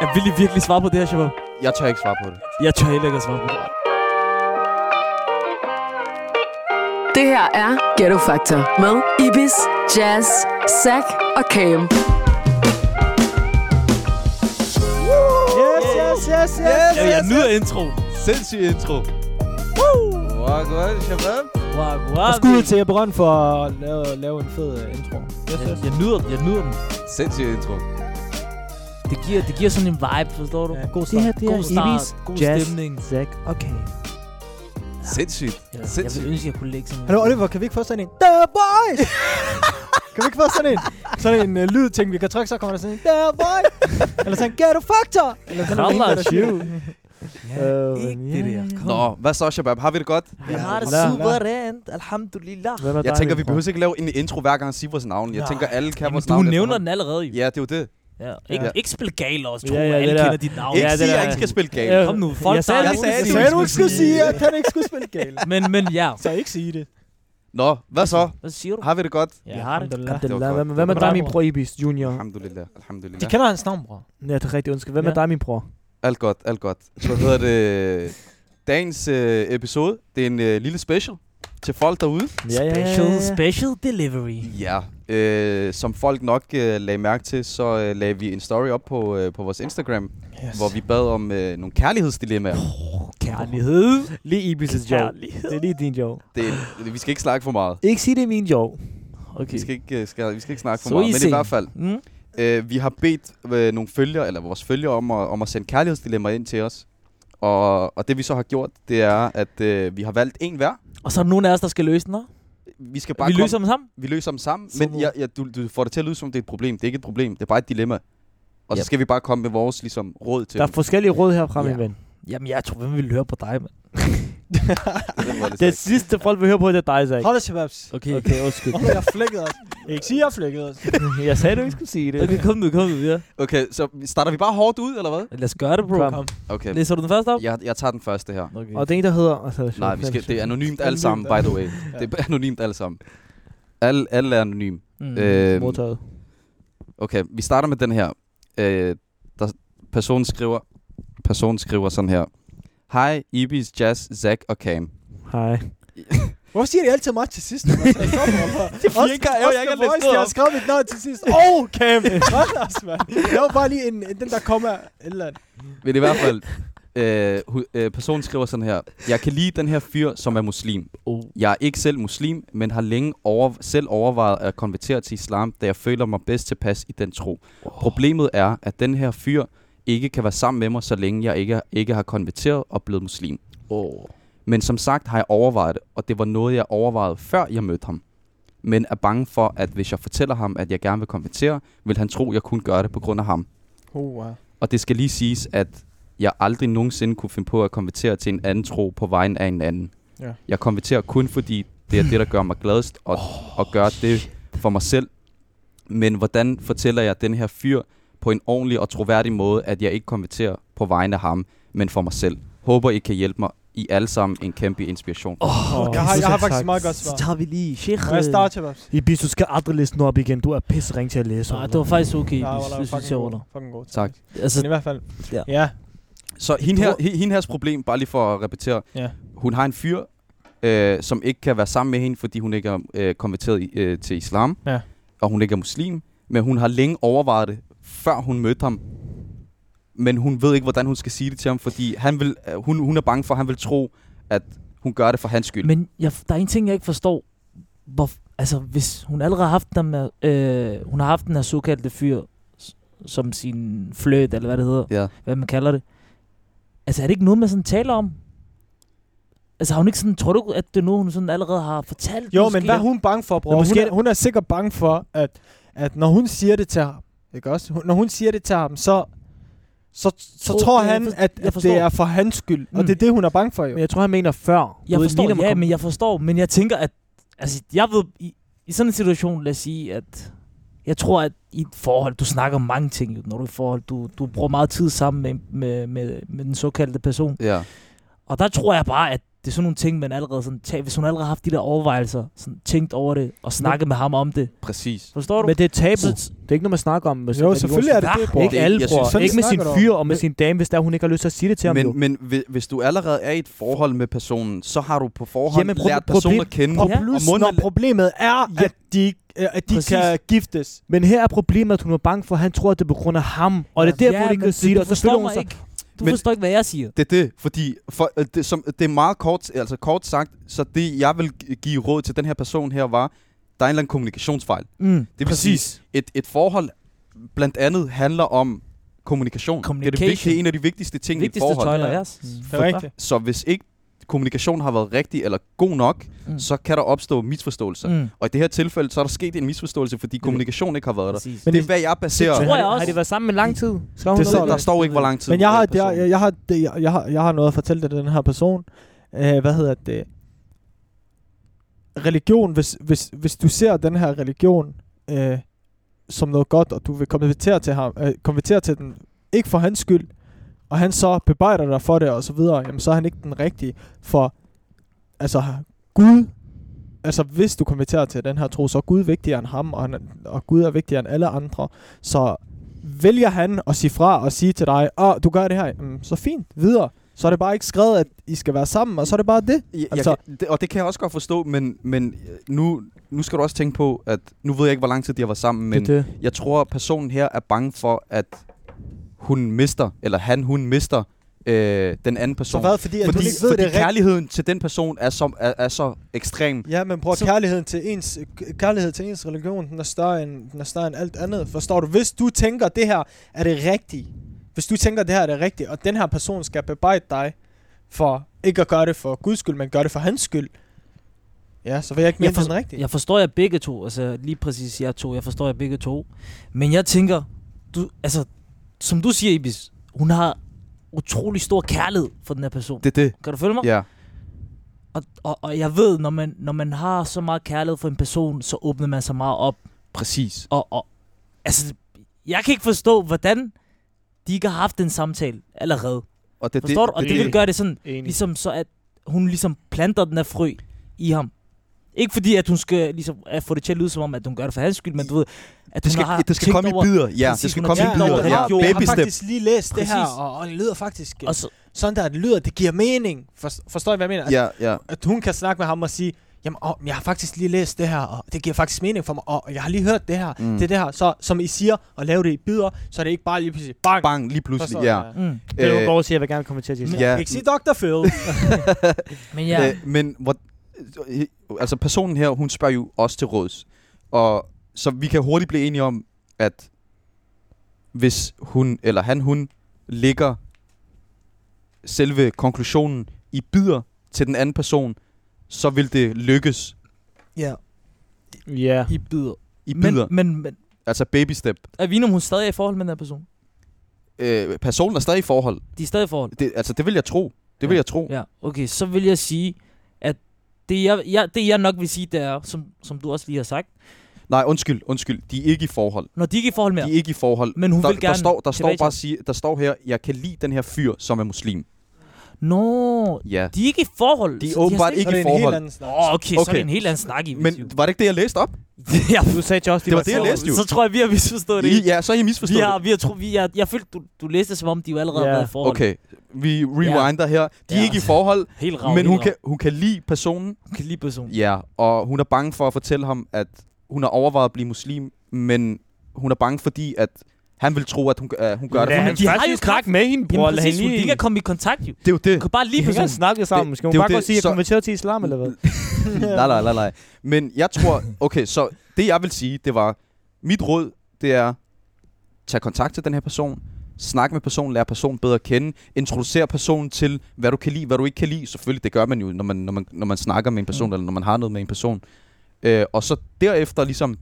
Jeg vil I virkelig svare på det her, Shabab? Jeg tør ikke svare på det. Jeg tør heller ikke at svare på det. Det her er Ghetto Factor med Ibis, Jazz, Zack og Cam. Yes, yes, yes, yes. Jeg, jeg nyder intro. Sindssyg intro. Wow, godt, Shabab. Wow, wow. Og skud ud til Jeppe Røn for at lave, lave en fed øh, intro. Yes, Jeg, yes. jeg nyder den, jeg nyder den. Sindssyg intro. Det giver, det giver sådan en vibe, forstår du? Ja, god start. god start, god Jazz, stemning. Zack og Kane. Sindssygt. Ja, jeg Sindssygt. ville ønske, jeg kunne lægge sådan en... Hallo Oliver, kan vi ikke få sådan en? The Boys! kan vi ikke få sådan en, sådan en uh, lyd ting, vi kan trykke, så kommer der sådan en The Boy! Eller sådan Ghetto Factor! Eller sådan Kralder noget, der og siger. Øh, Ikke det der. Kom. Nå, hvad så, Shabab? Har vi det godt? Vi har det la, la. suverænt. Alhamdulillah. Hvem er Jeg dig, tænker, vi Mikkel? behøver ikke lave en intro hver gang, sige vores navn. Jeg Nej. tænker, alle kan Jamen, vores du navn. nævner efterhånden. den allerede. jo. Ja, det er jo det. Ja. Ikke, Ja. ikke spil gal også, tro. Ja, ja, Alle det der. kender dit navn. Ikke Ja, det sige, er- at I ikke skal spille gale. Ja. Kom nu, folk Jeg sagde, der- jeg sagde, Jeg det. sagde, du ikke skulle sige, at han ikke skulle spille galt. Men, men ja. Så ikke sige det. Nå, hvad så? Hvad siger du? Har vi det godt? Ja, jeg har det. alhamdulillah. Det var lader- godt. Hvem, hvem er Det var dig, godt. min bror Ibis Junior? Alhamdulillah. De Alhamdulillah. kender hans navn, bror. Ja, det er rigtigt ønsket. Hvem er Ja. dig, min bror? Alt godt, alt godt. Hvad hedder det? øh, Dagens øh, episode, det er en øh, lille special til folk derude. Special, special delivery. Ja, øh, som folk nok øh, lagde mærke til, så øh, lagde vi en story op på, øh, på vores Instagram, yes. hvor vi bad om øh, nogle kærlighedsdilemmaer. Kærlighed. Lige Ibis' joke. Kærlighed. Det er lige din joke. Det, er- vi skal ikke snakke for meget. Ikke sige, det er min joke. Vi Okay. skal ikke, øh, skal, vi skal ikke snakke for Så I meget, men i ser. hvert fald, Mm. øh, vi har bedt øh, nogle følgere, eller vores følgere, om at, om at sende kærlighedsdilemmaer ind til os. Og, og det vi så har gjort, det er, at øh, vi har valgt en hver. Og så er der nogen af os, der skal løse den, hva'? Vi skal bare Vi komme- løser dem sammen. vi løser dem sammen, Så men må- jeg, jeg, du, du får det til at lyde som, det er et problem. Det er ikke et problem, det er bare et dilemma. Og så Yep. skal vi bare komme med vores ligesom, råd til Der er forskellige råd herfra, min Ja. ven. Jamen, jeg tror, hvem vil høre på dig, mand? dem. Var det Det sagt. sidste, folk vil høre på, det er dig, Zack. Hold da, Shababs. Okay. okay. Okay, undskyld. Hold da, jeg flækkede os. Ikke sige, jeg flækkede os. Jeg sagde, du ikke skulle sige det. Okay, kom nu, kom nu, ja. Okay, så starter vi bare hårdt ud, eller hvad? Lad os gøre det, bro. Kom. Okay, Læser du den først op? jeg, jeg tager den første her. Okay. Og det er en, der hedder... Altså, Nej, vi skal, det er anonymt alle Anonymt sammen, by the way. Det er anonymt alle sammen. Alle, alle er anonym. Mm. Øhm, Modtaget. Okay, vi starter med den her. Øh, der, personen, skriver, personen skriver sådan her. Hej, Ibis, Jazz, Zack og Cam. Hej. Hvorfor siger de altid mig til sidst? når man tager sammen, bror? Også- virker, jeg- jeg også kan The læse Voice, noget de har op. skrevet mit navn til sidst. Oh, Cam! Hold da, mand. Det var bare lige en, en- den der kommer eller andet. Men i hvert fald, øh, hu- øh, personen skriver sådan her. Jeg kan lide den her fyr, som er muslim. Oh. Jeg er ikke selv muslim, men har længe over, selv overvejet at konvertere til islam, da jeg føler mig bedst tilpas i den tro. Problemet er, at den her fyr ikke kan være sammen med mig, så længe jeg ikke, ikke har konverteret og blevet muslim. Oh. Men som sagt har jeg overvejet det, og det var noget, jeg overvejede, før jeg mødte ham. Men er bange for, at hvis jeg fortæller ham, at jeg gerne vil konvertere, vil han tro, jeg kun gør det på grund af ham. Oh, wow. Og det skal lige siges, at jeg aldrig nogensinde kunne finde på at konvertere til en anden tro på vejen af en anden. Ja. Jeg konverterer kun fordi det er det, der gør mig gladest, og, og gør det for mig selv. Men hvordan fortæller jeg den her fyr på en ordentlig og troværdig måde, at jeg ikke konverterer på vejen af ham, men for mig selv? Håber, I kan hjælpe mig. I er alle sammen en kæmpe inspiration. Oh. Åh, Jeg har, jeg har selv faktisk tak. et meget godt Så svar. tager vi lige Sheikh. Må jeg starte, Shababs? Ibis, du skal aldrig læse den op igen. Du er pissering til at læse. Nej, det var faktisk okay. Ja, Ja, Wallah, det synes fucking jeg god. var der. Fucking god. Tak. Altså, Men i hvert fald. Ja. Ja. Så hende, her, he- hende hers problem, bare lige for at repetere. Ja. Hun har en fyr, øh, som ikke kan være sammen med hende, fordi hun ikke er øh, konverteret i, øh, til islam. Ja. Og hun ikke er muslim. Men hun har længe overvejet det, før hun mødte ham. Men hun ved ikke, hvordan hun skal sige det til ham, fordi han vil, øh, hun, hun er bange for, at han vil tro, at hun gør det for hans skyld. men jeg, der er en ting, jeg ikke forstår. Hvor, altså, hvis hun allerede har haft den her, øh, hun har haft den her såkaldte fyr, s- som sin fløt, eller hvad det hedder, Ja. hvad man kalder det. Altså, er det ikke noget, man sådan taler om? Altså, har hun ikke sådan, tror du, at det er noget, hun sådan allerede har fortalt? Jo, måske? men hvad er hun bange for, bror? Men Hun måske- er, hun er sikkert bange for, at, at når hun siger det til ham, ikke også? Hun- Når hun siger det til ham, så, så, så Tror- tror jeg han, for- at, jeg at forstår. det er for hans skyld. Mm. Mm. Og det er det, hun er bange for, jo. Men jeg tror, han mener før. Jeg Du ved, forstår, lige når man ja, kommer- men jeg forstår, men jeg tænker, at... Altså, jeg ved, i, i sådan en situation, lad os sige, at... Jeg tror, at i et forhold, du snakker om mange ting, jo, når du er i et forhold. Du, du bruger meget tid sammen med, med, med, med den såkaldte person. Ja. Og der tror jeg bare, at det er sådan nogle ting, man allerede sådan, tag, hvis hun allerede har haft de der overvejelser, sådan tænkt over det, og snakket med ham om det. Præcis. Forstår du? Men det er tabu. Så- Det er ikke noget, man snakker om. Med sin Jo, religion. selvfølgelig er det det, bror. Ikke alle, Jeg bror. synes- Sådan Ikke med sin snakker du om. fyr og med sin dame, hvis der hun ikke har lyst til at sige det til ham. jo. Men, men hvi- hvis du allerede er i et forhold med personen, så har du på forhånd Jamen, Jamen, proble- lært personen problem- at kende. Og Ja. plus, Og munden når er- problemet er, Ja. at de, øh, at de Præcis. kan giftes. Men her er problemet, at hun er bange for, at han tror, at det er på grund af ham. Og det er derfor, hun ikke men kan du sige det. Og så forstår føler hun mig sig... ikke. Du Men- forstår ikke, hvad jeg siger. Det er det, fordi for, øh, det, som, det er meget kort, altså kort sagt, så det jeg vil gi- give råd til den her person her var, der er en eller anden kommunikationsfejl. Mm. Det vil sige, et, et forhold blandt andet handler om kommunikation. Det, er det, vigtige, Communication. en af de vigtigste ting i et Vigtigste forhold. tøjler, ja. Mm. Det er rigtigt. Så hvis ikke kommunikationen har været rigtig eller god nok, Mm. mm. så kan der opstå misforståelser. Mm. Mm. Og i det her tilfælde, så er der sket en misforståelse, fordi kommunikation ikke har været der. Præcis. Men det er, hvad jeg baserer. tror Men jeg har- også. Har de været sammen i lang tid? Skal hun Det Det det står der, der? der står ikke, hvor lang tid. Men jeg har, personen- jeg, jeg, jeg, har, det- jeg, jeg, har, jeg har noget at fortælle til den her person. Øh, hvad hedder det? Religion, hvis, hvis, hvis du ser den her religion øh, som noget godt, og du vil konvertere til, ham, øh, konvertere til den, ikke for hans skyld, og han så bebrejder dig for det og så videre, jamen så er han ikke den rigtige. For altså Gud, altså hvis du konverterer til den her tro, så er Gud vigtigere end ham, og, han, og Gud er vigtigere end alle andre. Så vælger han at sige fra og sige til dig, åh, du gør det her, mm, så fint, videre. Så er det bare ikke skrevet, at I skal være sammen, og så er det bare det. Jeg, Altså- altså, jeg, det- og det kan jeg også godt forstå, men, men øh, nu, nu skal du også tænke på, at nu ved jeg ikke, hvor lang tid de har været sammen, men Det er det. jeg tror, at personen her er bange for, at hun mister, eller han, hun mister øh, den anden person. Fordi, fordi fordi kærligheden til den person er, som, er, er så ekstrem. Ja, men bror, Så- kærligheden til, ens, kærlighed til ens religion, den er, større end, den er større end alt andet. Forstår du? Hvis du tænker, det her er det rigtige, hvis du tænker, det her er det rigtige, og den her person skal bebrejde dig for ikke at gøre det for Guds skyld, men gøre det for hans skyld, ja, så vil jeg ikke Jeg mene, det er for- den rigtige. Jeg forstår jer begge to, altså lige præcis jer to, jeg forstår jer begge to. Men jeg tænker, du, altså, som du siger, Ibis, hun har utrolig stor kærlighed for den her person. Det er det. Kan du følge mig? Ja. Og, og, og jeg ved, når man, når man har så meget kærlighed for en person, så åbner man sig meget op. Præcis. Og, og altså, jeg kan ikke forstå, hvordan de ikke har haft den samtale allerede. Og det, er Forstår du? Og det, er vil gøre det sådan, Enig. ligesom så at hun ligesom planter den her frø i ham. Ikke fordi, at hun skal ligesom, at få det til at lyde som om, at hun gør det for hans skyld, men du ved, at det hun skal, har det skal tænkt komme i over, bidder. Ja, Præcis, det skal hun har komme i tænkt over bidder. det. Ja, Jo, jeg har baby faktisk lige læst det her, Præcis. og, og det lyder faktisk... Og så, sådan der, det lyder, det giver mening. For, forstår I, hvad jeg mener? At, Ja, ja. at hun kan snakke med ham og sige, jamen, åh, jeg har faktisk lige læst det her, og det giver faktisk mening for mig, og jeg har lige hørt det her, mm. Mm. det er det her. Så som I siger, og lave det i bidder, så er det ikke bare lige pludselig, bang! Bang, lige pludselig. Forstår Ja. jeg? mm. Det er Øh, jo godt at sige, at jeg vil gerne komme til at sige ja. Ikke sige Dr. Phil. Men ja, Ja. Øh, men hvor, øh, altså personen her, hun spørger jo også til råds. Og så vi kan hurtigt blive enige om, at hvis hun eller han, hun ligger selve konklusionen i bidder til den anden person, så vil det lykkes ja. Ja. i bidder. i Men, bidder. Men, men, men altså baby step. er Vino, hun stadig er i forhold med den her person? Øh, personen er stadig i forhold. De er stadig i forhold? Det, altså det vil jeg tro. Det vil jeg tro. Ja, okay. Så vil jeg sige, at det jeg, jeg, det jeg nok vil sige, det er, som, som du også lige har sagt, Nej, undskyld, undskyld. De er ikke i forhold. når de ikke er i forhold De mere, er ikke i forhold. men hun Der, vil gerne... der, står, der står tilbage til bare ham. sige, der står her, jeg kan lide den her fyr, som er muslim. Nå, Ja. de er ikke i forhold. De er så har åbenbart slet ikke Så er det i en helt forhold. anden snak. Åh, okay, okay, så er det Okay. en helt anden snak i Men var det ikke det, jeg læste op? ja, Du sagde til os, vi Det var det, jeg sammen. læste jo. Så tror jeg, vi har misforstået det. I, ja, så har I Vi misforstået har, vi har tro, vi har, jeg følte, du, du læste det, som om de jo allerede Ja. yeah. været i det. forhold. Okay, vi rewinder her. De er Ja. ikke i forhold, Helt rav, men helt hun rav. kan, hun kan lide personen. Hun kan lide personen. Ja, og hun er bange for at fortælle ham, at hun har overvejet at blive muslim, men hun er bange fordi, at han vil tro, at hun, uh, hun gør det Lad for ham. ham Men de har først jo lige snakke med hende, Jamen bror. Lad præcis, hende hun, lige... de kan komme i kontakt jo. Det er jo Du det. kan bare De lide kan personen. ikke snakke sammen. Skal hun det er jo bare godt det, sige, at jeg så- konverterer til islam, eller hvad? nej, nej, nej, nej. Men jeg tror, okay, så det jeg vil sige, det var, mit råd, det er, tag kontakt til den her person, snak med personen, lær personen bedre at kende, introducer personen til, hvad du kan lide, hvad du ikke kan lide. Selvfølgelig, det gør man jo, når man, når man, når man snakker med en person, mm. eller når man har noget med en person. Øh, og så derefter ligesom,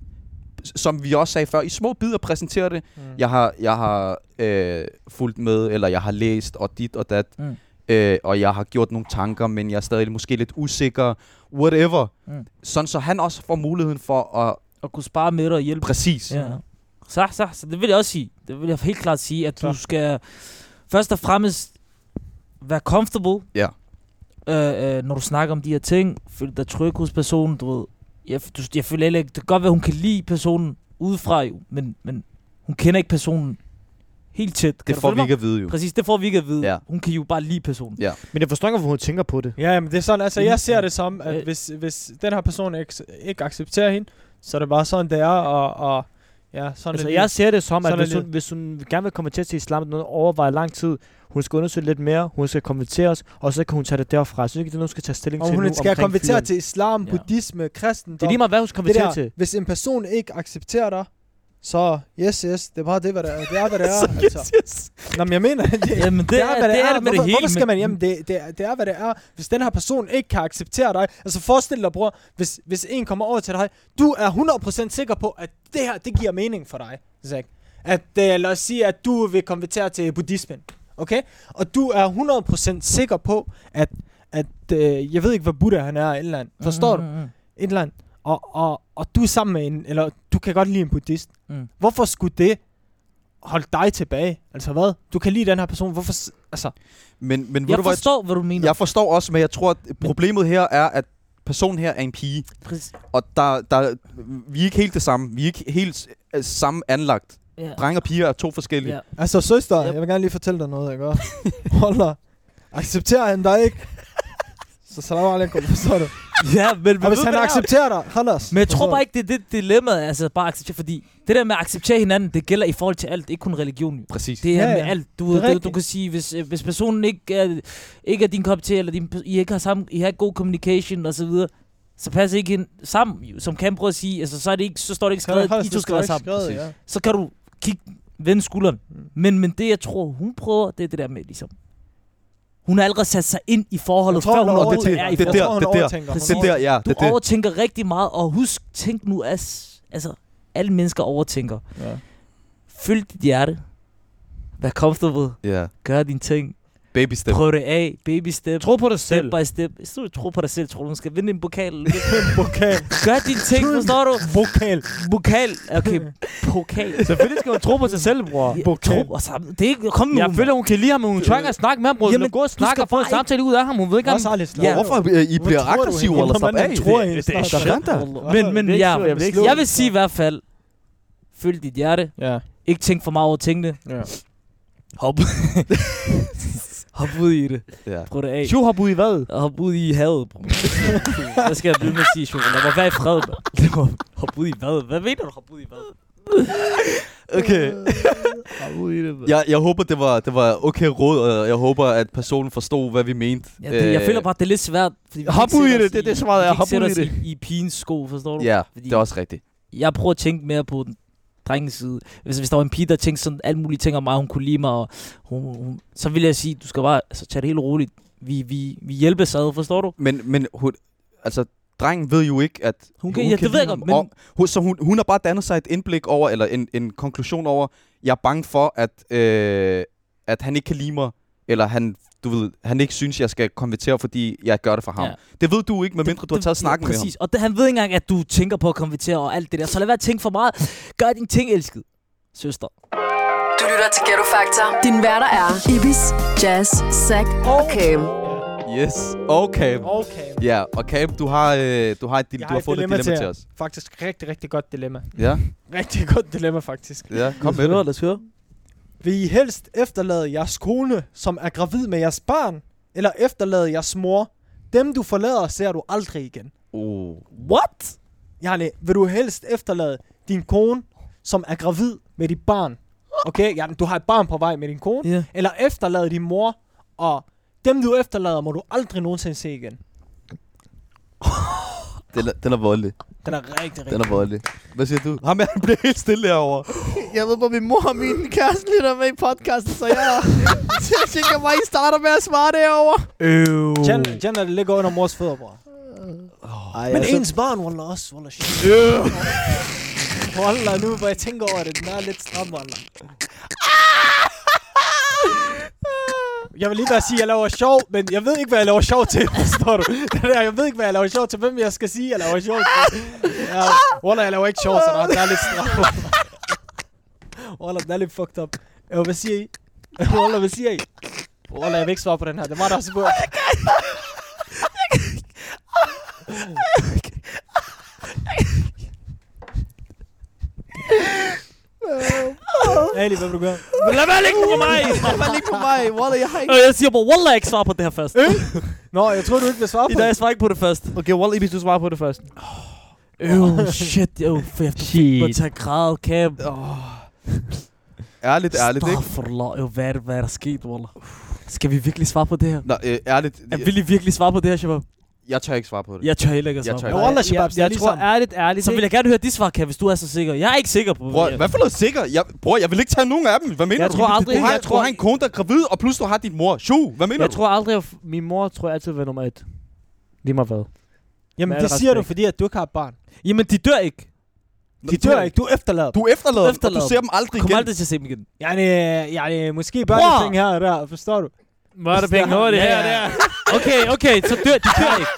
som vi også sagde før, i små bidder præsentere det. Mm. Jeg har, jeg har øh, fulgt med, eller jeg har læst, og dit og dat. Mm. Mm. Øh, og jeg har gjort nogle tanker, men jeg er stadig måske lidt usikker. Whatever. Mm. Mm. Sådan så han også får muligheden for at... Og kunne spare med dig og hjælpe. Præcis. Ja. Så, så, så det vil jeg også sige. Det vil jeg helt klart sige, at du skal først og fremmest være comfortable. Ja. øh, øh, når du snakker om de her ting, føler dig tryg hos personen, du ved. Jeg, du, jeg føler heller ikke, det kan godt være, hun kan lide personen udefra jo, men, men hun kender ikke personen helt tæt. Kan Det du får følge vi mig? ikke at vide jo. Præcis, det får vi ikke at vide. Ja. Ja. Hun kan jo bare lide personen. Men jeg forstår ikke, hvorfor hun tænker på det. Ja, men det er sådan, altså jeg ser Ja. det som, at Øh. hvis, hvis den her person ikke, ikke accepterer hende, så er det bare sådan, det er, og, og ja, sådan Altså, er livet. jeg ser det som, at Sådan er hvis hun, livet. hvis hun gerne vil konvertere til islam, noget overvejer lang tid, hun skal undersøge lidt mere, hun skal konverteres, og så kan hun tage det derfra. Jeg synes ikke, det er noget, hun skal tage stilling Om til nu hun skal omkring konvertere fyren. til islam, Ja. buddhisme, kristendom. Det er lige meget, hvad hun skal det konvertere der, til. hvis en person ikke accepterer dig, så yes, yes, det er bare det, hvad det er, det er, hvad det er. altså. Yes. Nå, men jeg mener, det, det, Jamen, det, det er, hvad det er. det med hvorfor, det hele. hvorfor skal men- man hjem? Det, det, er- det er, hvad det er. Hvis den her person ikke kan acceptere dig, altså forestil dig, bror, hvis, hvis en kommer over til dig, du er 100% sikker på, at det her, det giver mening for dig, Zach. At, øh, lad os sige, at du vil konvertere til buddhismen, okay? Og du er 100% sikker på, at, at øh, jeg ved ikke, hvad Buddha han er, et eller andet. Forstår du? Mm, mm, mm. et eller andet, og, og, og du er sammen med en, eller du kan godt lide en buddhist. Mm. Hvorfor skulle det holde dig tilbage? Altså hvad? Du kan lide den her person, hvorfor... s- Altså, Men, men ved Jeg du, hvad, forstår, hvad du mener. jeg forstår også, men jeg tror, at problemet her er, at personen her er en pige. Præcis. Og der, der, vi er ikke helt det samme. Vi er ikke helt øh, samme anlagt. Ja. Drenge og piger er to forskellige. Ja. altså søster, Yep. jeg vil gerne lige fortælle dig noget, ikke? Hold da. Accepterer han dig ikke? Så salam alaikum, forstår du? ja, men, Og hvis han men- accepterer dig, halas. Men jeg tror bare ikke, det er det dilemma, altså bare at acceptere, fordi det der med at acceptere hinanden, det gælder i forhold til alt, ikke kun religion. jo. Præcis. Det er Ja, ja, ja. med alt. Du, Det er det, du rigtigt. kan sige, hvis, øh, hvis personen ikke er, ikke er din kop til, eller din, I ikke har sammen, I har ikke god communication og så videre, så passer I ikke ind sammen, jo. som kan prøve at sige, altså så, er det ikke, så står det ikke skrevet, at I to skal være sammen. Præcis. ja. Så kan du kigge, vende skulderen. Mm. Men, men det, jeg tror, hun prøver, det er det der med, ligesom. Hun har allerede sat sig ind i forholdet, Jeg tror, før hun hun er over- overhovedet det- er i det er forholdet. der, det er der. Præcis. Det der, ja. Du Det, er det. overtænker rigtig meget, og husk, tænk nu as. Altså, alle mennesker overtænker. Ja. Følg dit hjerte. Vær comfortable. Ja. Gør dine ting. Baby step. Prøv det af. Baby step. Tro på dig step selv. by step. Hvis du tror på dig selv, tror du, du skal vinde en pokal. eller ikke? Vokal. Gør dine ting, forstår du? Vokal. Pokal. Okay, pokal. Selvfølgelig skal hun tro på sig selv, bror. Ja, Tro og sammen. Det er ikke... Kom nu. Jeg føler, hun kan lide ham, men hun tør ikke at snakke med ham, bror. Jamen, Jamen, gå og du snakke skal og få en bare ikke- samtale ud af ham. Hun ved ikke, om... Også Alice. Ja. Hvorfor øh, I bliver tror du aggressive hende? eller slap Hvordan af? tror I? Det- det er Snart. shit. Men, men Det er ja, ikke sjovt, jeg vil ikke- jeg vil sige i hvert fald, følg dit hjerte. Ja. Ikke tænk for meget over tingene. Ja. Hop. Hop ud i det. Ja. Prøv det af. Tjo har i hvad? Og hop ud i havet, bro. Hvad skal jeg blive med at sige, Sjov? Lad mig være i fred, mand. Lad mig- Hop ud i hvad? Hvad mener du, hop ud i hvad? Okay. jeg, jeg håber, det var, det var okay råd, og jeg håber, at personen forstod, hvad vi mente. Ja, det, jeg Øh, føler bare, det er lidt svært. Fordi vi hop kan ikke ud i sætte det, os det er det svar, vi der er. kan ikke Hop sætte ud i os det. I, i pigens sko, forstår du? Ja, Fordi det er også rigtigt. Jeg prøver at tænke mere på den drengens side. Hvis, hvis der var en pige, der tænkte sådan alle mulige ting om mig, hun kunne lide mig, og hun, hun, så ville jeg sige, du skal bare altså, tage det helt roligt. Vi, vi, vi hjælpes ad, forstår du? Men, men hun, altså, drengen ved jo ikke, at Hun kan- ja, det ved lide jeg ham. godt, men- Og hun, så hun, hun har bare dannet sig et indblik over, eller en, en konklusion over, jeg er bange for, at, øh, at han ikke kan lide mig, eller han, du ved, han ikke synes, jeg skal konvertere, fordi jeg gør det for ham. Ja. Det ved du ikke, medmindre Det- du har det- taget snakken ja, med ham. præcis. Og det, han ved ikke engang, at du tænker på at konvertere og alt det der. Så lad være at tænke for meget. Gør din ting, elsket. Søster. Du lytter til Ghetto Factor. Din værter er Ibis, Jazz, Zack og Cam. Yes, okay. Okay. Ja, og Cam, du har, øh, du har, et, du Jeg har, fået et dilemma til, jer. os. Faktisk rigtig, rigtig godt dilemma. Ja, Rigtig godt dilemma, faktisk. ja, kom med det. lad os høre. Vil I helst efterlade jeres kone, som er gravid med jeres barn, eller efterlade jeres mor? Dem, du forlader, ser du aldrig igen. Uh. What? Jarne, vil du helst efterlade din kone, som er gravid med dit barn? Okay, ja, du har et barn på vej med din kone. Ja. Eller efterlade din mor, og dem, du efterlader, må du aldrig nogensinde se igen. Den, er, den er voldelig. Den er rigtig, rigtig... Den er voldelig. Hvad siger du? Ham er han bliver helt stille herovre. Jeg ved, hvor min mor og min kæreste lytter med i podcasten, så jeg, så jeg tænker bare, I starter med at svare derovre. Øv. Jan, Jan er det ligger under mors fødder, bror. Ej, Men altså, ens barn, Wallah, også, Wallah, shit. Wallah, nu hvor jeg tænker over det, den er lidt stram, Wallah. Ah! Jeg vil lige bare sige, at jeg laver sjov, men jeg ved ikke, hvad jeg laver sjov til, forstår du? Det der, jeg ved ikke, hvad jeg laver sjov til, hvem jeg skal sige, jeg laver sjov til. Ja, Wallah, jeg laver ikke sjov, så der, den er lidt stram. Wallah. Wallah, den er lidt fucked up. Jo, hvad siger I? Wallah, hvad siger I? Wallah, jeg vil ikke svare på den her. Det var der også på. Ali, hvad vil du gøre? Lad være ligge på mig! Lad mig ligge på mig. Wallah, jeg har ikke... Og jeg siger bare, Wallah, jeg ikke svarer på det her først. Nå, jeg tror du ikke vil svare I på dag, det. jeg svarer ikke på det først. Okay, Wallah, Ibis, du svarer på det først. Øv, shit, øv, for jeg fik mig til at græde, kæm. Ærligt, ærligt, ikke? Astaghfirullah, øv, hvad er, det- hvad er der sket, Wallah? Skal vi virkelig svare på det her? Nå, øh, ærligt, Jeg jeg, vil I virkelig svare på det her, Shabab? jeg tør ikke svare på det. Jeg tør heller ikke at Jeg svare tør på ikke. det. Wallah, Shabab, ligesom jeg, jeg tror ærligt, ærligt. Så vil ikke? jeg gerne høre dit svar, Kat, hvis du er så sikker. Jeg er ikke sikker på det. Bror, hvad for noget sikker? Jeg, bror, jeg vil ikke tage nogen af dem. Hvad mener Jeg du? tror aldrig- du har, jeg jeg tror, tror- du har en kone, der er gravid, og plus du har din mor. Sjo, hvad mener Jeg du? tror aldrig, at f- min mor tror jeg altid vil være nummer et. Lige meget hvad. Jamen, Med det al siger du, respekt. fordi at du ikke har et barn. Jamen, de dør ikke. Nå, De dør ikke, du efterlader Du efterlader, dem, og du Efterlader ser dem aldrig Kom igen. aldrig til at se dem igen. Jeg er måske børneting her og der, forstår du? Hvor er der penge? Nå, det her, det Okay, okay, så dør de dør ikke.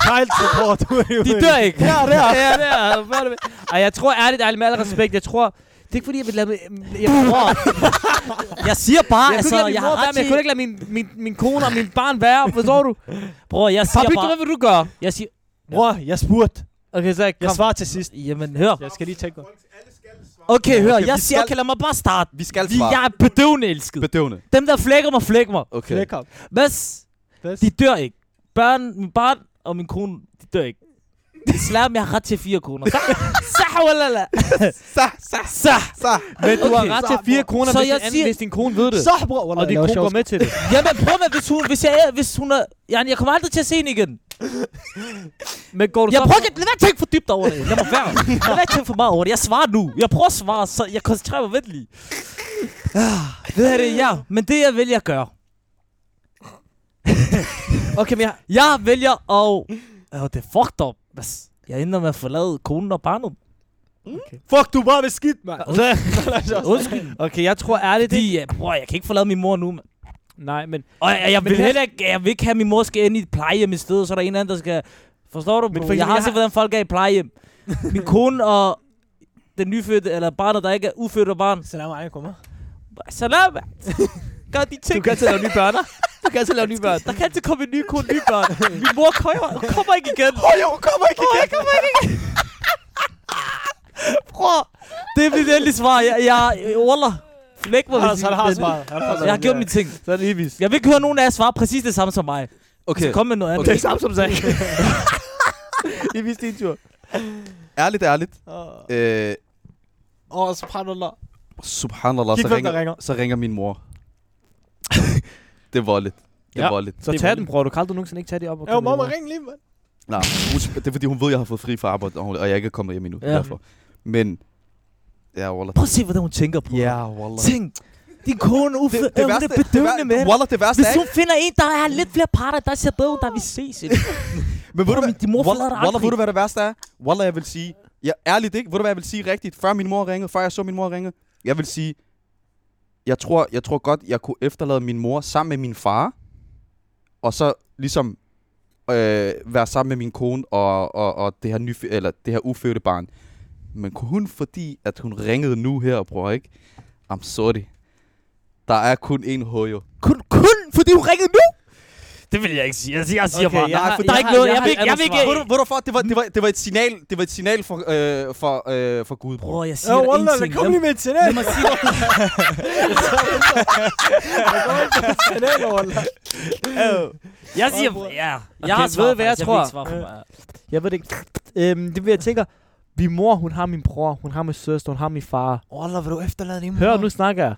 Kajl support, du er jo De dør ikke. Her og der. Ja, det er. Hvor er det Ej, jeg tror ærligt, ærligt, med al respekt, jeg tror... Det er ikke fordi, jeg vil lade min... Ah, Jeg, bror, Jeg siger bare, jeg altså, kunne ikke lade min jeg mor har være, ret men jeg kunne ikke lade min, min, min kone og min barn være, forstår du? Bror, jeg siger Papik, bare... hvad vil du gøre? Jeg siger... Bror, jeg spurgte. Okay, så Jeg kom. svarer til sidst. Jamen, hør. Jeg skal lige tænke mig. Okay, hør, Okay, jeg vi siger, skal- okay, lad mig bare starte. Vi skal Vi, svare. jeg er bedøvende elsket. Bedøvende. Dem, der flækker mig, flækker mig. Okay. Flæk ham. Mas, Bedst. de dør ikke. Børn, min barn og min kone, de dør ikke. Islam, jeg har ret til fire kroner. Sah, walala. Så, så, Sah. så. Men du har Okay. ret til 4 kroner, Så hvis, jeg en anden, siger- hvis din kone ved det. Så, bror. Wallah, Og din jeg var kone sjov. går med til det. Jamen, prøv med, hvis hun, hvis jeg er, hvis hun er... Jeg, jeg kommer aldrig til at se hende igen. Men går du Jeg så... prøver ikke, lad være at tænke for dybt over det. Lad mig være. Lad være at tænke for meget over det. Jeg svarer nu. Jeg prøver at svare, så jeg koncentrerer mig venlig. Ah, det her det er jeg. Men det jeg vælger at gøre. Okay, men jeg... Jeg vælger at... Åh, det er fucked up. Mas. Jeg ender med at forlade konen og barnet. Fuck, du er bare ved skidt, mand. Undskyld. Okay, jeg tror ærligt, det... Fordi, ja, bror, jeg kan ikke forlade min mor nu, mand. Nej, men... Og jeg, jeg Men vil her- heller ikke, jeg vil ikke have, at min mor skal ind i et plejehjem i stedet, så er der en anden, der skal... Forstår du, bro? for jeg eksempel, har jeg set, har- hvordan folk er i plejehjem. Min kone og den nyfødte, eller barnet, der ikke er ufødt og barn. Salam alaikum. Salam! Gør de ting. Du kan altid lave nye børn. du kan altså altid lave nye børn. Der kan altid komme en ny kone, nye børn. Min mor kommer, kommer ikke igen. Åh, jeg kommer ikke igen. Bror, det er mit endelige svar. Jeg, jeg, Wallah, flæk mig. hvis I- Han har svaret. Han har Jeg har gjort min ting. Så er det Ibis. Jeg vil ikke høre nogen af jer svare præcis det samme som mig. Okay, Så Altså, kom med noget andet. Okay. samme som Zach. Ibis, din tur. ærligt, ærligt. Øh, Åh, subhanallah. subhanallah, Kig, så hvem der ringer, ringer. så ringer min mor. det er voldeligt. Det er Ja. voldeligt. Så tag den, bror. Du kan aldrig nogensinde ikke tage det op. og Jo, komme mamma, videre. ring lige, mand. Nej, hun sp- det er fordi, hun ved, jeg har fået fri fra arbejde, og hun- og jeg ikke er kommet hjem endnu. Ja. Ja. Derfor. Men, ja, Wallah. Prøv at se, hvordan hun tænker på det. Wallah. Tænk, din kone Uffe, det, det hun er bedøvende med hende. Wallah, det værste Hvis er hun finder en, der har lidt flere parter, der ser bedre ud, der vi ses. ikke? Men ved du, Bror, hvad, min- din mor Wallah- forlader dig Wallah, aldrig. ved du, hvad det værste er? Wallah, jeg vil sige... Ja, ærligt ikke. Ved du, hvad jeg vil sige rigtigt? Før min mor ringede, før jeg så min mor ringe. Jeg vil sige... Jeg tror, jeg tror godt, jeg kunne efterlade min mor sammen med min far. Og så ligesom øh, være sammen med min kone og, og, og det, her nyf- eller det her ufødte barn. Men kun fordi, at hun ringede nu her, bror, ikke? I'm sorry. Der er kun én hojo. kun, kun fordi hun ringede nu? Det vil jeg ikke sige. Jeg siger, jeg siger Okay, bare, jeg nej, har- for der er jeg ikke har- noget. jeg Jeg har vil et ikke, jeg andet vil ikke. svar. Ved du, ved du for, det var, det var, det var et signal, det var et signal for, øh, for, øh, for Gud, bror. Bror, jeg Jo, siger dig Wallah, ingenting. kom Lad- lige med et signal. Lad mig sige dig. Signal, Wallah. Jeg siger, ja. Jeg Øh, har ved svaret, I, hvad jeg faktisk. tror? vil ikke svare på mig. Jeg ved det ikke. Øhm, det vil jeg tænker. Min mor, hun har min bror, hun har min søster, hun har min far. Wallah, vil du efterlade din Hør, nu snakker jeg.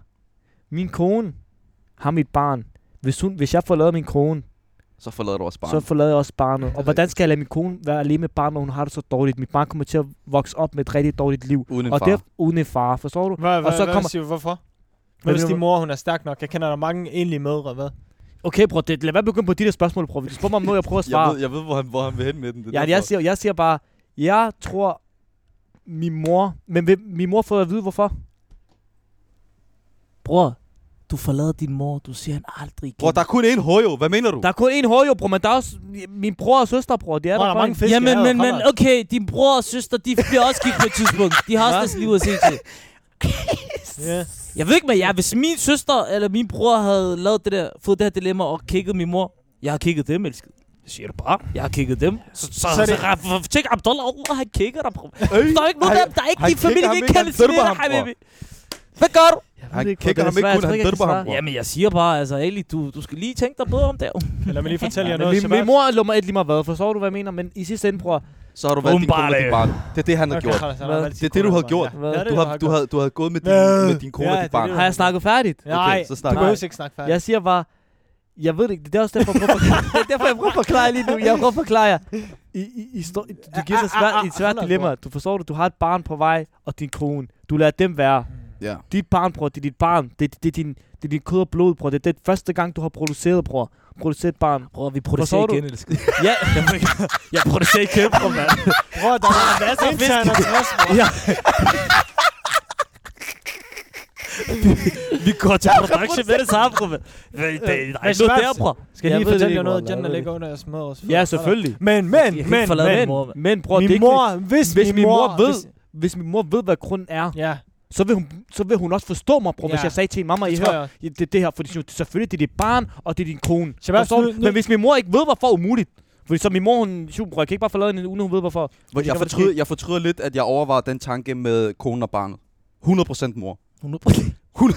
Min kone har mit barn. Hvis, hun, hvis jeg forlader min kone, Så forlader du også barnet. så forlader jeg også barnet. Og rigtigt. hvordan skal jeg lade min kone være alene med barnet, når hun har det så dårligt? Mit barn kommer til at vokse op med et rigtig dårligt liv. Uden en og far. det er uden en far, forstår du? Hvad, Og så kommer- siger du, hvorfor? Hvad Hvad hvis vil- din mor, hun er stærk nok? Jeg kender der mange enlige mødre, hvad? Okay, bror, det, lad være begynde på de der spørgsmål, bror. Hvis du spørger mig om noget, jeg prøver at svare. jeg ved hvor, han, hvor han vil hen med den. Det Ja, jeg siger, jeg siger bare, jeg tror, min mor... Men vil min mor få at vide, hvorfor? Bror, du forlader din mor. Du ser hende aldrig igen. Bror, der er kun én hojo. Hvad mener du? Der er kun én hårjo, bror, men der er også min bror og søster, bror. Det er Bror, der der, er mange fisk. Jamen, men, men, okay, din bror og søster, de bliver også gift på et tidspunkt. De har også Hva? deres liv at se til. Ja. Jeg ved ikke med jer, hvis min søster eller min bror havde lavet det der, fået det her dilemma og kigget min mor, jeg har kigget dem, elsket. Det siger du bare. Jeg har kigget dem. Så, så, så, Så er så, det- så tænk, Abdullah, Allah, han kigger dig, bror. Øj, Der er ikke nogen han- af dem, der er ikke han din familie, der kigger ham ikke ikke, kan han dømmer lide ham, bror. habibi. Hvad gør du? Jeg Han ikke, kigger ham hvordan- ikke svært, kun, han jeg tror dødder ikke, jeg ham, bror. Jamen, jeg siger bare, altså, Ali, du, du skal lige tænke dig bedre om det. Lad mig lige fortælle jer Ja, min, noget. min Sebastian. mor er nummer et lige meget hvad, forstår du, hvad jeg mener? Men i sidste ende, bror, Så har du været din Åbenbart, kone og din øh. barn. Det er det, han har Okay, gjort. Anders, han Hvad? har valgt Det er sin det, du kone, havde Anders. gjort. Ja, Hvad? det er Du det, har, du, havde, du havde gået med din, Hvad? med din kone Ja, og det dit er barn. det, har jeg snakket færdigt? Okay, Nej, så du snakker behøver ikke snakke færdigt. Jeg siger bare, jeg ved det ikke, det er også derfor, jeg prøver at forklare, det er derfor, jeg prøver at forklare jer lige nu. Jeg prøver at forklare jer. I, I, I står, I- du giver sig Ah, ah, ah, svært, ah, et svært hold op, dilemma. bror. Du forstår det, du har et barn på vej, og din kone. Du lader dem være. Ja. Dit barn, bror, det er dit barn. Det, det, det, er, din, det er din kød og blod, bror. Det er den første gang, du har produceret, bror. Produceret et barn. Bror, vi producerer producerer igen, igen, elsker. ja, jeg, jeg producerer ikke kæmpe, mand. Bror, der er masser af fisk. Ja. vi går til production med det samme, bror. Øh, Hvad er det? Nej, nu der, bror. Skal jeg Jeg lige ved det fortælle ikke, jer noget? bror, Jenna jeg ved ligger under jeres mødres Ja, selvfølgelig. Men, men, Jeg kan men, ikke forlade men. min mor, mand. Men bror, det er Min ikke- mor, hvis, hvis min mor ved, hvis- hvis min mor ved, hvad grunden er, Ja, så vil hun, så vil hun også forstå mig, bror, ja. hvis Ja. jeg sagde til hende, mamma, I det tror hører, jeg. Ja, det er det her, fordi det- selvfølgelig det er dit barn, og det er din kone. Shabazz, Forstår du? nu- nu- Men hvis min mor ikke ved, hvorfor umuligt. Fordi så min mor, hun, shoot, bror, jeg kan ikke bare forlade hende, uden hun ved, hvorfor. Hvor Jeg kan fortryder, måske- jeg fortryder lidt, at jeg overvejer den tanke med konen og barnet. 100% mor. 100. Bror, hvad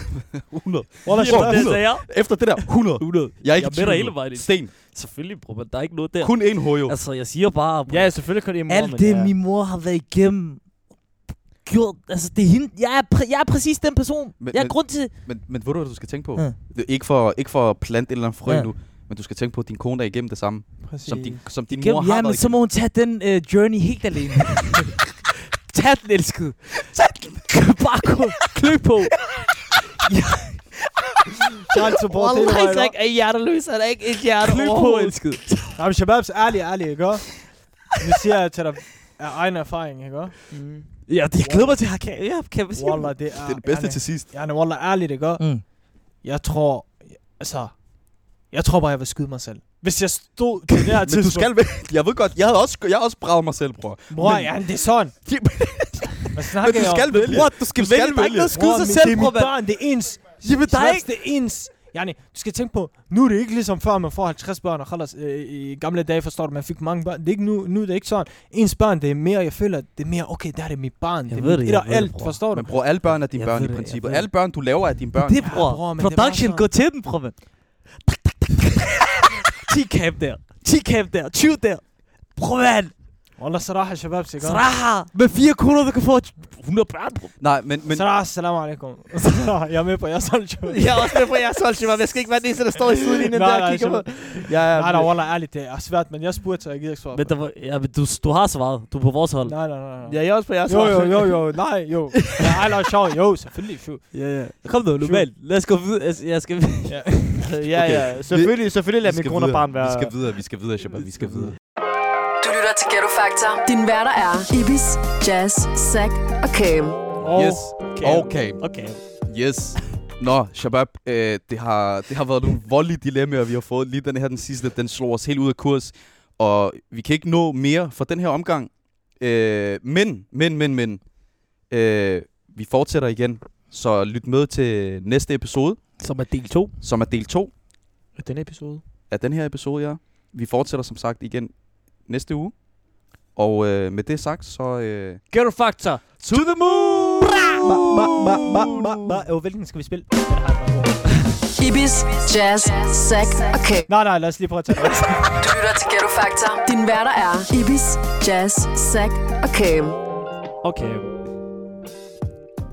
Lige spørger om Det du? lidt. sagde jeg. Efter det der, 100. 100. Jeg er ikke Jeg i er med dig tvivl. hele vejen ind. Sten. Selvfølgelig, bror, men der er ikke noget der. Kun én hojo. Altså, jeg siger bare, bror. Ja, selvfølgelig kan det er mor, Alt men det, ja. min mor har været igennem, gjort, altså det er hende, jeg er, præ- jeg er præcis den person. Men- jeg er men- grund til, Men, men ved du, hvad du skal tænke på? Ja. Det er ikke for, ikke for at plante en eller anden frø Ja. nu, men du skal tænke på, at din kone er igennem det samme, som din, som din mor gennem, har ja, men været så må hun tage den øh, journey helt alene. Tag den, elskede. Tag den. Bare gå, klø på. Jeg er altså, bror, det Wallah, er det, Isak er hjerteløs. Han er ikke et hjerte Klø på, overhovedet. elskede. Nej, men Shababs, ærlig, ærlig, ikke også? Nu siger jeg til dig af egen erfaring, ikke også? Mm. Ja, det jeg glæder mig til, at kan, ja, kan jeg sige Wallah, det er... igennem. Det er det bedste til sidst. Ja, Wallah, ærligt, ikke også? Mm. Jeg tror... Altså... Jeg tror bare, jeg vil skyde mig selv. Hvis jeg stod til det her Men du tidspunkt... skal væk. Jeg ved godt, jeg havde også, jeg havde også braget mig selv, bror. Bror, Men- ja, men det er sådan. Hvad Men snakker du jeg om? skal vælge. Bror, du skal Du skal vælge. Der er ikke noget at skyde Bror, sig men selv, det er bror, mit mand. barn, det er ens. Jamen, der er Slaps, ikke... det er ens. Yani, du skal tænke på, nu er det ikke ligesom før, man får 50 børn, og khalas, øh, i gamle dage forstår du, man fik mange børn. Det er ikke nu, nu er det ikke sådan. Ens børn, det er mere, jeg føler, det er mere, okay, der er det mit barn. Jeg det ved er det, mit jeg et og ved det, alt, bror. forstår du? Men bror, alle børn er dine Jeg børn ved i det, jeg principet. ved det. Alle børn, du laver, er dine børn. Det, bror. bror, men det var Production, så- gå til den, bror, mand. 10 cap der. 10 cap der. 20 der. Bror, mand. Wallah, saraha, shababs, ikke? også? Sraha. Med 4 kroner, du kan få 100 børn, bror. Nej, men, men Saraha, salam alaikum. Saraha, jeg er med på, jeg er sådan shababs. Jeg er også med på jeres hold, Shimon. Jeg skal ikke være den eneste, der står i sidelinjen Nej, der og nej, kigger på. Shimon. Ja, ja. Nej, nej, wallah, ærligt, det er svært, men jeg spurgte, så jeg gider ikke svare. på Men, der det. var, ja, men du, du har svaret. Du er på vores hold. Nej, nej, nej, nej. Ja, jeg er også på jeres Jo, hold. jo, jo, jo, nej, jo. Ja, ej, lad os sjov, jo, selvfølgelig, sju. Ja, ja. Kom nu, normalt. Lad os gå videre. Altså, Jeg skal... Ja, ja, selvfølgelig, selvfølgelig lader vi min skal kone og videre. barn være... Vi skal videre, vi skal videre, Shabab. Vi skal videre. Du lytter til Ghetto Factor. Din værter er Ibis, Jazz, Zack og Cam. Og Yes. Okay. Okay. Yes. Nå, Shabab, øh, det, har, det har været nogle voldelige dilemmaer, vi har fået. Lige den her, den sidste, den slog os helt ud af kurs. Og vi kan ikke nå mere for den her omgang. Øh, men, men, men, men. Øh, vi fortsætter igen. Så lyt med til næste episode, Som er del 2. som er del 2 Den episode. af den her episode, ja. Vi fortsætter som sagt igen næste uge. Og øh, med det sagt, så... Øh, Ghetto Factor. to the moon! Ma, ma, ma, ma, ma, ma. Jo, hvilken skal vi spille? Den har jeg bare. Ibis, Jazz, Zack og Cam. Nej, nej, lad os lige prøve at tage det. Du lytter til Ghetto Factor. Din værter er Ibis, Jazz, Zack og Cam. Okay.